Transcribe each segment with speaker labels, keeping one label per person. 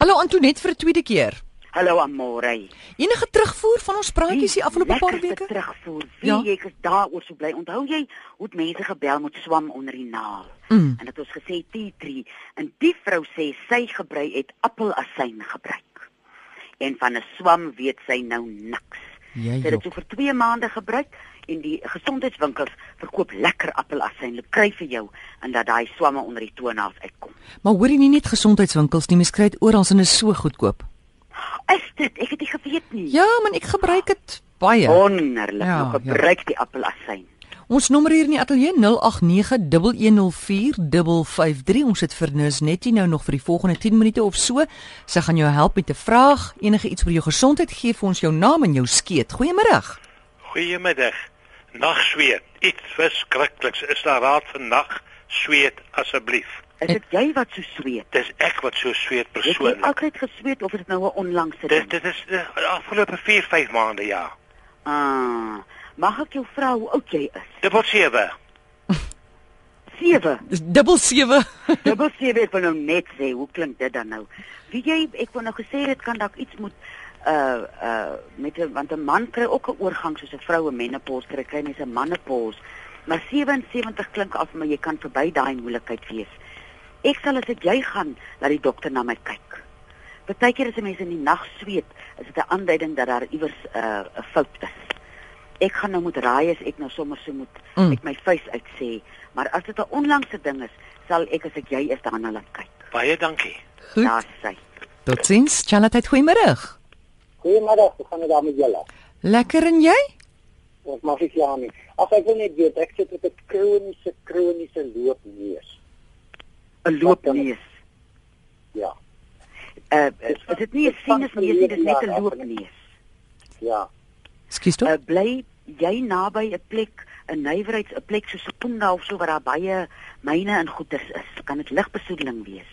Speaker 1: Hallo Antonet vir 'n tweede keer.
Speaker 2: Hallo Amore.
Speaker 1: Enige terugvoer van ons praatjies die afgelope paar
Speaker 2: Lekkerste
Speaker 1: weke?
Speaker 2: Terugvoer. Wie
Speaker 1: Ja.
Speaker 2: ja. ek is daaroor so bly. Onthou jy hoe het mense gebel met swam onder die naal?
Speaker 1: Mm.
Speaker 2: En dit ons gesê tea tree en die vrou sê sy gebrei het appelasyn gebruik. En van 'n swam weet sy nou niks.
Speaker 1: Ja,
Speaker 2: Sy het dit so vir 2 maande gebruik en die gesondheidswinkels verkoop lekker appelasyn. Hulle kry vir jou en dat daai swamme onder die toenaels uitkom.
Speaker 1: Maar hoor jy nie net gesondheidswinkels nie, mens kry dit oral en is so goedkoop.
Speaker 2: Is dit? Ek het dit geweet nie.
Speaker 1: Ja, man, ek gebruik dit baie.
Speaker 2: Wonderlik.
Speaker 1: Ja,
Speaker 2: Ja,
Speaker 1: ja.
Speaker 2: nou gebruik ja. die appelasyn.
Speaker 1: Ons nommer hier in die ateljee 0891104553. Ons het vir Nus net nie nou nog vir die volgende 10 minute of so. Sy gaan jou help met 'n vraag, enige iets oor jou gesondheid. Gee vir ons jou naam en jou skeet. Goeiemiddag.
Speaker 3: Goeiemiddag. Nagsweet. Iets verskrikliks. Is daar raad vir nagsweet asseblief?
Speaker 2: Is dit jy wat so sweet?
Speaker 3: Dis ek wat so
Speaker 2: Jy
Speaker 3: sweet
Speaker 2: het
Speaker 3: persoonlik.
Speaker 2: altyd gesweet of is dit nou 'n onlangse
Speaker 3: Dit
Speaker 2: ding?
Speaker 3: dit is eh, afgelope 4, 5 maande ja.
Speaker 2: Ah. Mag ek jou vra hoe oud jy is?
Speaker 3: Dubbel 7.
Speaker 2: 7.
Speaker 1: Dis 77.
Speaker 2: Dubbel 7 ek wil nou net sê, hoe klink dit dan nou? Wie jy ek wou nou gesê dit kan dalk iets moet uh uh met 'n want 'n man kry ook 'n oorgang soos 'n vrou 'n menopause kry, kry mense 'n mannepause. Maar 77 klink af maar jy kan verby daai moeilikheid wees. Ek sal as ek jy gaan, laat die dokter na my kyk. Partykeer as 'n mens in die nag sweet, is dit 'n aanduiding dat daar iewers 'n uh, 'n fout is. Ek gaan nou moet raai as ek nou sommer so moet
Speaker 1: Mm.
Speaker 2: mm. met my vuis uit sê, maar as dit 'n onlangse ding is, sal ek as ek jy is daarna laat kyk.
Speaker 3: Baie dankie.
Speaker 1: Goed.
Speaker 2: Daar sê.
Speaker 1: Totsiens. Charlotte, goeiemiddag.
Speaker 4: Goeiemiddag, ek gaan dit daar met julle.
Speaker 1: Lekker en jy?
Speaker 4: Ek mag ek ja nie. As ek wil net weet, ek sit met 'n kroniese kroniese loopneus.
Speaker 2: 'n Loopneus.
Speaker 4: Ja,
Speaker 2: Uh, is dit nie 'n
Speaker 4: Dis van
Speaker 2: sinus neus nie, dis net 'n
Speaker 4: verlede jaar af,
Speaker 2: loopneus.
Speaker 4: ja.
Speaker 1: Skus
Speaker 2: Uh,
Speaker 1: toe.
Speaker 2: bly jy naby 'n plek, 'n nywerheids 'n plek soos Sekunda of so waar daar baie myne en goeders is, kan dit ligbesoedeling wees.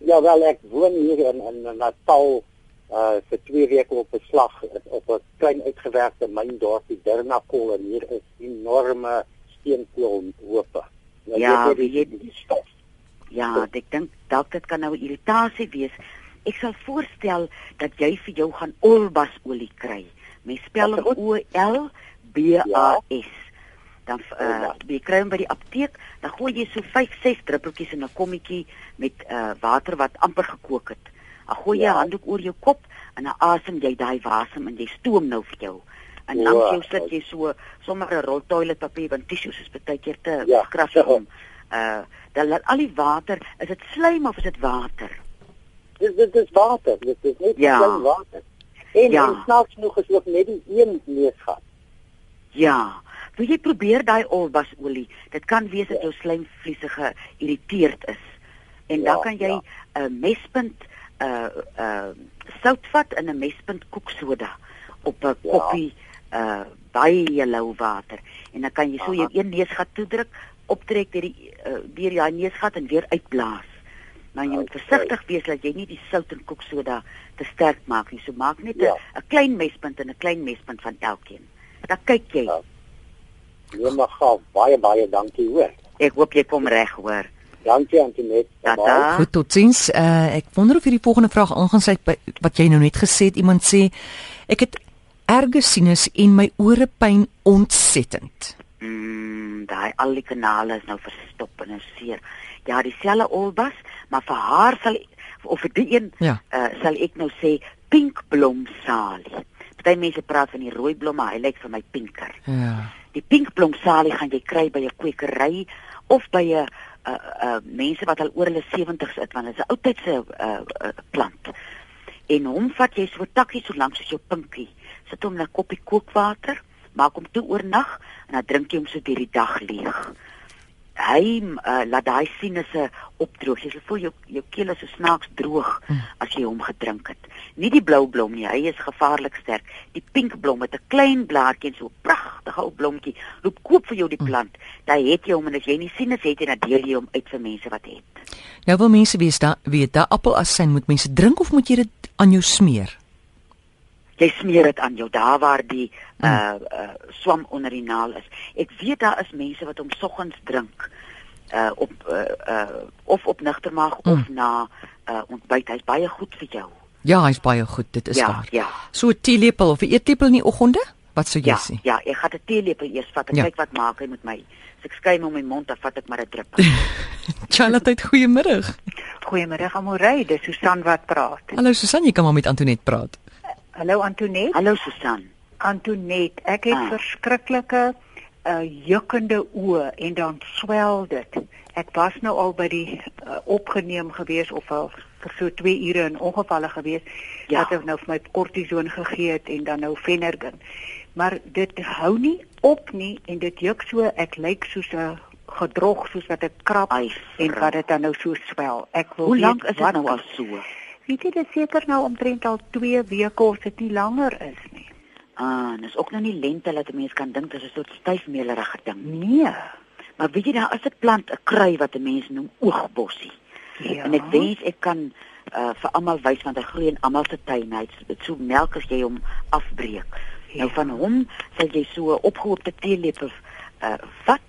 Speaker 4: Ja wel, ek woon hier in in Natal uh vir 2 weke op 'n slag op 'n klein uitgewerkte myndorpie Dirnakol en hier is enorme steenkoolhope. Nou,
Speaker 2: Ja,
Speaker 4: weet
Speaker 2: wie
Speaker 4: jy
Speaker 2: het-
Speaker 4: die stof?
Speaker 2: Ja, ek dink dalk dit kan nou 'n irritasie wees. Ek sal voorstel dat jy vir jou gaan olbasolie kry. Mens spel
Speaker 4: Wat
Speaker 2: hom
Speaker 4: goed.
Speaker 2: O L B A S. Dan uh,
Speaker 4: Olbas.
Speaker 2: jy kry hom by die apteek, dan gooi jy so 5, 6 druppeltjies in 'n kommetjie met uh, water wat amper gekook het. Dan gooi jy 'n
Speaker 4: Ja.
Speaker 2: handdoek oor jou kop en dan asem jy daai wasem en jy stoom nou vir jou. En dan
Speaker 4: Wow.
Speaker 2: jou sit jy so sommer 'n rol toiletpapier want tissues is baie keer te
Speaker 4: Ja.
Speaker 2: ja. krassig om uh dan laat al die water, is dit slijm of is dit water?
Speaker 4: Dis dit is water, dit is net
Speaker 2: Ja.
Speaker 4: klein water. En,
Speaker 2: Ja.
Speaker 4: en snaaks genoeg is ook net die een neusgat.
Speaker 2: Ja. Wil jy probeer daai olbasolie? Dit kan wees
Speaker 4: Ja.
Speaker 2: dat jou slijmvliese geïrriteerd is. En
Speaker 4: Ja,
Speaker 2: dan kan jy
Speaker 4: ja.
Speaker 2: 'n mespunt uh uh sout vat in 'n mespunt koeksoda op 'n
Speaker 4: Ja.
Speaker 2: koppie uh baie lou water en dan kan jy so jou
Speaker 4: Aha.
Speaker 2: een neusgat toedruk, optrek deur die uh, deur jou neusgat en weer uitblaas. Maar jy moet
Speaker 4: Okay.
Speaker 2: versigtig wees dat jy nie die sout en koeksoda te sterk maak nie. So maak net 'n
Speaker 4: Ja.
Speaker 2: 'n klein mespunt en 'n klein mespunt van elkeen. Dan kyk jy.
Speaker 4: Ja. Nee, maar gaaf, baie baie dankie hoor.
Speaker 2: Ek hoop jy kom reg hoor.
Speaker 4: Dankie Antoinette.
Speaker 2: Tata.
Speaker 1: Goed, totsiens. Uh, ek wonder of hierdie volgende vraag aangesluit by wat jy nou net gesê het. Iemand sê ek het erge sinus en my ore pyn ontsettend.
Speaker 2: Mm, daai al die kanale is nou verstop en nou seer. Ja, dieselfde olbas, maar vir haar sal of vir die een
Speaker 1: Ja.
Speaker 2: uh, sal ek nou sê pinkblomsalie. Party mense praat van die rooi blomme, hy lyk vir my pinker.
Speaker 1: Ja.
Speaker 2: Die pinkblomsalie gaan jy kry by 'n kwekery of by 'n uh uh mense wat al oor hulle 70's is want dit is 'n oudtydse uh, uh plant. En hom vat jy so takkie so lank soos jou pinkie. Sit hom in 'n koppie kookwater, maak hom toe oornag en dan drink jy hom so deur die dag leeg. Hy uh, laat daai sinusse opdroog. Jy sal voel jou jou keel is so snaaks droog as jy hom gedrink het. Nie die blou blom nie, hy is gevaarlik sterk. Die pink blom met 'n klein blaartjie en so 'n pragtige ou blommetjie. Loop koop vir jou die plant. Dan het jy hom en as jy nie sinus het en dan deel jy hom uit vir mense wat het.
Speaker 1: Nou wil mense weet da weet dat appelasyn moet mense drink of moet jy dit aan jou smeer?
Speaker 2: jy smeer dit aan jou daar waar die
Speaker 1: Hmm.
Speaker 2: eh, uh, uh swam onder die naal is. Ek weet daar is mense wat hom soggens drink. uh op uh, uh of op nigtermaag
Speaker 1: Hmm.
Speaker 2: mm. of na uh ontbyt. Hy's baie goed vir jou.
Speaker 1: Ja, hy's baie goed, dit is
Speaker 2: ja,
Speaker 1: waar.
Speaker 2: ja.
Speaker 1: So 'n teelepel of 'n eetlepel in die oggende? Wat sou jy
Speaker 2: Ja,
Speaker 1: sê?
Speaker 2: ja, ek gaan 'n teelepel eers vat en
Speaker 1: Ja.
Speaker 2: ja. kyk wat maak hy met my. As ek skuim hom in my mond, dan vat ek maar 'n drup.
Speaker 1: Charlotte, goeiemiddag.
Speaker 5: Goeiemôre Amorey, dis Susan wat praat.
Speaker 1: Hallo Susan, jy kan maar met Antoinette praat.
Speaker 5: Hallo Antoinette.
Speaker 2: Hallo Susan.
Speaker 5: Antoinette, ek het
Speaker 2: Ah.
Speaker 5: ah. verskriklike uh jukkende oë en dan swel dit. Ek was nou al by die uh, opgeneem gewees of al vir so 2 ure in ongevalle gewees
Speaker 2: Ja.
Speaker 5: wat ek nou vir my kortison gegee het en dan nou Venergan. Maar dit hou nie op nie en dit juk so ek lyk soos 'n gedrog soos wat ek krap
Speaker 2: Ai,
Speaker 5: en
Speaker 2: vrou.
Speaker 5: wat dit dan nou so swel. Ek wil
Speaker 2: Hoe
Speaker 5: weet
Speaker 2: lank is dit
Speaker 5: wat
Speaker 2: nou al so?
Speaker 5: Weet jy dit seker nou omtrent al 2 weke of dit nie langer is nie.
Speaker 2: Ah, en dis ook nou nie lente dat 'n mens kan dink dis 'n soort styfmelerige ding.
Speaker 5: Nee.
Speaker 2: Maar weet jy daar is 'n plant, 'n krui wat 'n mens noem oogbossie.
Speaker 5: Ja.
Speaker 2: En ek wens ek kan uh vir almal wys want hy groei in almal se tuine. Hy's- Dit so melk as jy hom afbreek.
Speaker 5: Ja.
Speaker 2: Nou van hom sal jy so 'n opgehoopte teelepel uh vat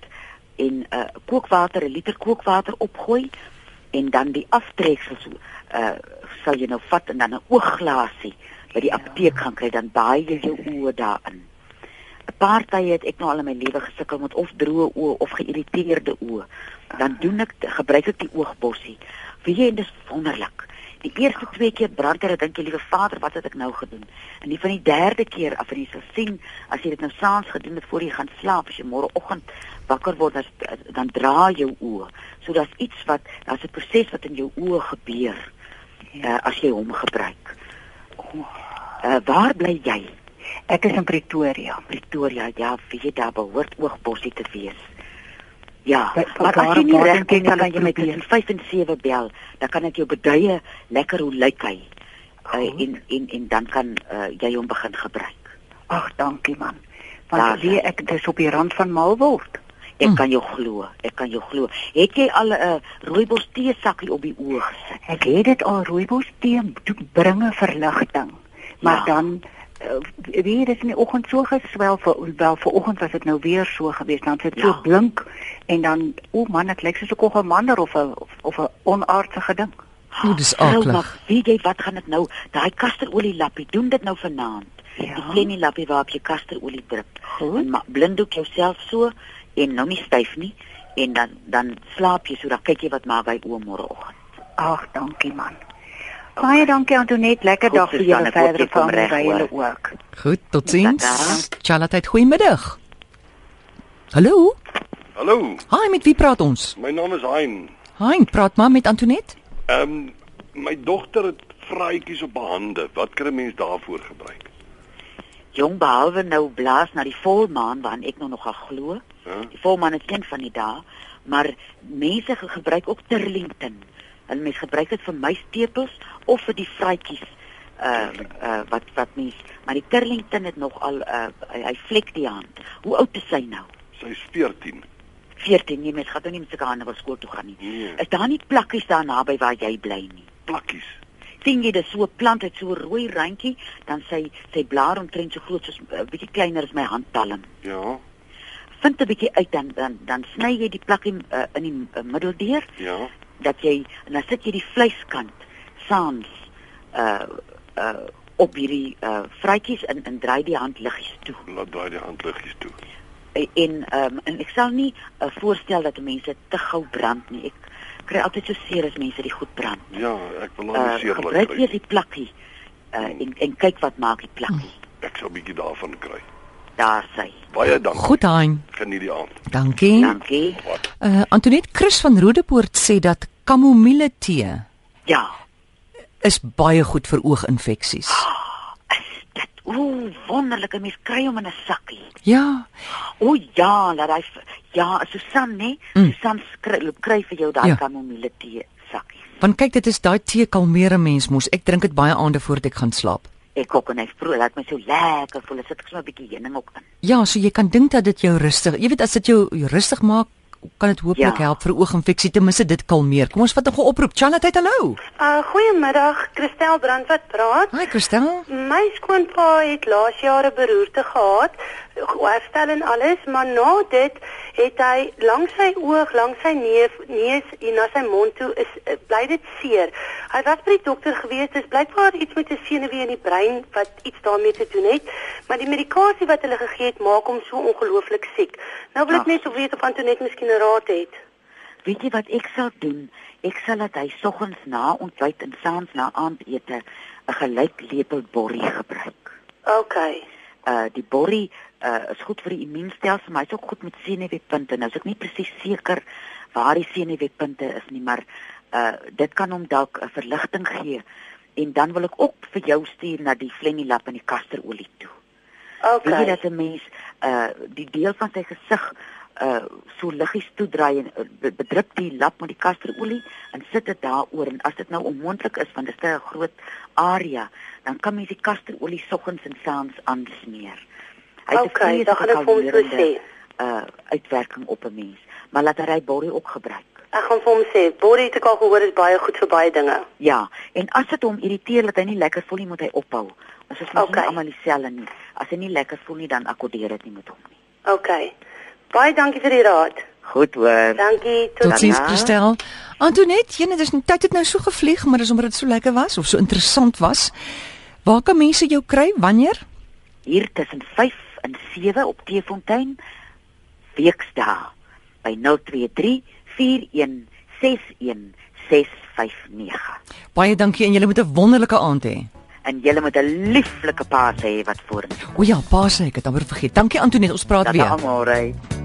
Speaker 2: en uh kookwater, 'n liter kookwater opgooi en dan die aftreksel so uh sal jy nou vat en dan 'n oogglasie by die
Speaker 5: Ja.
Speaker 2: apteek gaan kry dan baai jy jou oë daarin. 'n paar tye het ek nou al in my lewe gesukkel met of droë oë of geïrriteerde oë. Dan doen ek gebruik ek die oogbossie. Weet jy, en dis wonderlik. Die eerste twee keer brander, ek dink jy liewe Vader, wat het ek nou gedoen? En die van die derde keer af en jy sal sien as jy dit nou saans gedoen het voor jy gaan slaap, as jy môreoggend wakker word, dan, dan draai jou oë. So daar's iets wat daar's 'n proses wat in jou oë gebeur uh, as jy hom gebruik. Uh, waar bly jy?
Speaker 5: Ah, ek is in Pretoria.
Speaker 2: Pretoria, ja, weet jy daar behoort oogbossie te wees. Ja,
Speaker 5: By-
Speaker 2: maar as
Speaker 5: daar
Speaker 2: jy nie
Speaker 5: waar
Speaker 2: reg
Speaker 5: dink jy
Speaker 2: kyk dan
Speaker 5: kan
Speaker 2: kan jy my
Speaker 5: probeer?
Speaker 2: tussen 5 en 7 bel, dan kan ek jou beduie lekker hoe lyk hy. Uh,
Speaker 5: Goed.
Speaker 2: en en en dan kan uh, jy hom begin gebruik.
Speaker 5: Ag, dankie man.
Speaker 2: Daar
Speaker 5: Want
Speaker 2: sê.
Speaker 5: wie ek dis op die rand van Malwoord.
Speaker 2: Ek
Speaker 1: Mm.
Speaker 2: mm. kan jou glo, ek kan jou glo. Het jy al 'n uh, rooibos tee sakkie op die oog gesit?
Speaker 5: Ek het dit al rooibos tee doen bringe verligting. Maar
Speaker 2: Ja.
Speaker 5: ja. dan uh, weet dit in die oggend so geswel vir wel vanoggend was dit nou weer so gewees. Dan het dit ja.
Speaker 2: Ja.
Speaker 5: so blink en dan o oh man, ek lyk soos 'n koggelmander of 'n of- of 'n onaardige ding.
Speaker 1: O, dis
Speaker 2: Vrou,
Speaker 1: aklig.
Speaker 2: maar Weet jy wat gaan dit nou? Daai kasterolie lappie, doen dit nou vanaand.
Speaker 5: Ja.
Speaker 2: Die klein lappie waarop jy kasterolie drup.
Speaker 5: Goed.
Speaker 2: En maar blinddoek jouself so en nou nie styf nie en dan dan slaap jy so dan kyk jy wat maak hy oom môreoggend.
Speaker 5: Ag, dankie man. Baie dankie Antoinette, lekker
Speaker 2: Goed,
Speaker 5: dag vir
Speaker 2: Susan,
Speaker 5: julle
Speaker 2: ek hoop jy
Speaker 5: verder
Speaker 2: kom
Speaker 5: van
Speaker 2: reg,
Speaker 5: by julle
Speaker 2: hoor.
Speaker 5: ook.
Speaker 1: Goed, totiens.
Speaker 2: Dag.
Speaker 1: Charlotte, goeiemiddag. Hallo?
Speaker 6: Hallo,
Speaker 1: Hi, met wie praat ons?
Speaker 6: my naam is Hein.
Speaker 1: Hi, praat maar met Antoinette.
Speaker 6: Ehm um, my dogter het vraatjies op haar hande. Wat kan 'n mens daarvoor gebruik?
Speaker 2: Jong behalwe nou blaas na die volmaan waarin ek nou nogal glo.
Speaker 6: Ja.
Speaker 2: Die volmaan is een van die dae, maar mense ge- gebruik ook terlington. Hulle mense gebruik dit vir muisstepels of vir die vrytjies uh uh wat wat mens, maar die terlington het nogal uh hy, hy vlek die hand. Hoe oud is hy nou?
Speaker 6: Sy's 14.
Speaker 2: 14, nee, mens gaan nou nie met sulke hande wil skool toe gaan nie.
Speaker 3: Hmm.
Speaker 6: Nee.
Speaker 2: Is daar nie plakkies daar naby waar jy bly nie?
Speaker 6: Plakkies.
Speaker 2: sien jy dis so 'n plant het so 'n rooi randjie, dan sy sy blaar omtrent so groot soos 'n bietjie kleiner as my handpalm.
Speaker 6: Ja,
Speaker 2: Vind 'n bietjie uit dan dan dan sny jy die plakkie uh, in die uh, middeldeur
Speaker 6: ja.
Speaker 2: dat jy en dan sit jy die vleiskant saans uh uh op hierdie uh vrytjies in en draai die hand liggies toe.
Speaker 6: Laat daai die handliggies toe.
Speaker 2: Eh, en um, en ek sal nie uh, voorstel dat mense te gou brand nie. Ek kry altyd so seer as mense die goed brand.
Speaker 6: Ja, ek wil
Speaker 3: Oh,
Speaker 6: haar
Speaker 2: Uh,
Speaker 6: nie seer laat
Speaker 2: gebruik eers
Speaker 6: kry.
Speaker 2: die plakkie uh, en en kyk wat maak die plakkie.
Speaker 6: Ek sal 'n bietjie daarvan kry.
Speaker 2: Daar sy.
Speaker 6: Baie dankie.
Speaker 1: Goed, Hein.
Speaker 6: Geniet die aand.
Speaker 1: Dankie.
Speaker 2: Dankie.
Speaker 1: Uh Antoinette Chris van Rodepoort sê dat kamomile tee
Speaker 2: Ja,
Speaker 1: is baie goed vir ooginfeksies.
Speaker 2: is dit ooh wonderlike mens kry hom in 'n sakkie.
Speaker 1: Ja,
Speaker 2: O ja, laat hy v- ja, Susan nê,
Speaker 1: Mm.
Speaker 2: mm. Susan skry kry vir jou daai
Speaker 1: Ja.
Speaker 2: ja. kamomile tee sakkie.
Speaker 1: want kyk dit is daai tee kalmeer 'n mens mos. Ek drink dit baie aande voordat ek gaan slaap.
Speaker 2: Ek kook en hy vroeg laat my so lekker voel. Ek Sit ek sommer 'n bietjie heuning ook in.
Speaker 1: Ja, so jy kan dink dat dit jou rustig. Jy weet as dit jou rustig maak, kan dit hopelik
Speaker 2: Ja.
Speaker 1: help vir ooginfeksie. Ten minste dit kalmeer. Kom ons vat 'n goeie oproep. Charlotte, hallo.
Speaker 7: Uh, goeiemiddag, Christel Brand wat praat.
Speaker 1: Hi Christel.
Speaker 7: My skoonpa het laas jaar 'n beroerte gehad herstel en alles, maar na dit het hy langs sy oog, langs sy neus, neus en na sy mond toe is eh, bly dit seer. Hy was by die dokter gewees, dis blykbaar iets met 'n senuwee in die brein wat iets daarmee te doen het, maar die medikasie wat hulle gegee het maak hom so ongelooflik siek. Nou wil ek
Speaker 2: Ag.
Speaker 7: net weet of Antoinette miskien 'n raad het.
Speaker 2: Weet jy wat ek sal doen? Ek sal dat hy soggens na ontbyt en saans na aandete 'n gelyk lepel borrie gebruik.
Speaker 7: OK.
Speaker 2: Uh die borrie uh is goed vir die immuunstelsel, maar hy's ook goed met senuweepunte. Nou is ek nie presies seker waar die senuweepunte is nie, maar uh dit kan hom dalk 'n verligting gee. En dan wil ek ook vir jou stuur na die flemmilap en die kasterolie toe.
Speaker 7: OK.
Speaker 2: Weet jy dat 'n mens uh die deel van sy gesig uh so liggies toedraai en uh, be- bedrup die lap met die kasterolie en sit dit daaroor en as dit nou onmoontlik is want dit is 'n groot area, dan kan mens die kasterolie soggens en saans aansmeer. Hy
Speaker 7: OK, dan gaan ek vir hom so sê.
Speaker 2: uh uitwerking op 'n mens, maar laat hy hy borrie ook gebruik.
Speaker 7: Ek gaan vir hom sê, Borrie het ek al gehoor is baie goed vir baie dinge.
Speaker 2: Ja, en as dit hom irriteer dat hy nie lekker voel nie, moet hy ophou. Ons is mos
Speaker 7: Oké.
Speaker 2: nie almal dieselfde nie. As hy nie lekker voel nie, dan akkodeer dit nie met hom nie.
Speaker 7: OK. Baie dankie vir die raad.
Speaker 2: Goed hoor.
Speaker 7: Dankie tot
Speaker 1: Tot sins
Speaker 2: Ja.
Speaker 1: gestel. Antoinette, jene, dis tyd het nou so gevlieg, maar dis omdat dit so lekker was of so interessant was. Waar kan mense jou kry? Wanneer?
Speaker 2: hier tussen 5 en 7 op Teefontein weksdae by 023 4161659.
Speaker 1: Baie dankie en julle moet 'n wonderlike aand hê.
Speaker 2: En julle moet 'n lieflike paas hê wat voor.
Speaker 1: O ja, Paas, ek het amper vergeet. Dankie Antoinette, ons praat
Speaker 2: Dat
Speaker 1: weer.
Speaker 2: almal reg.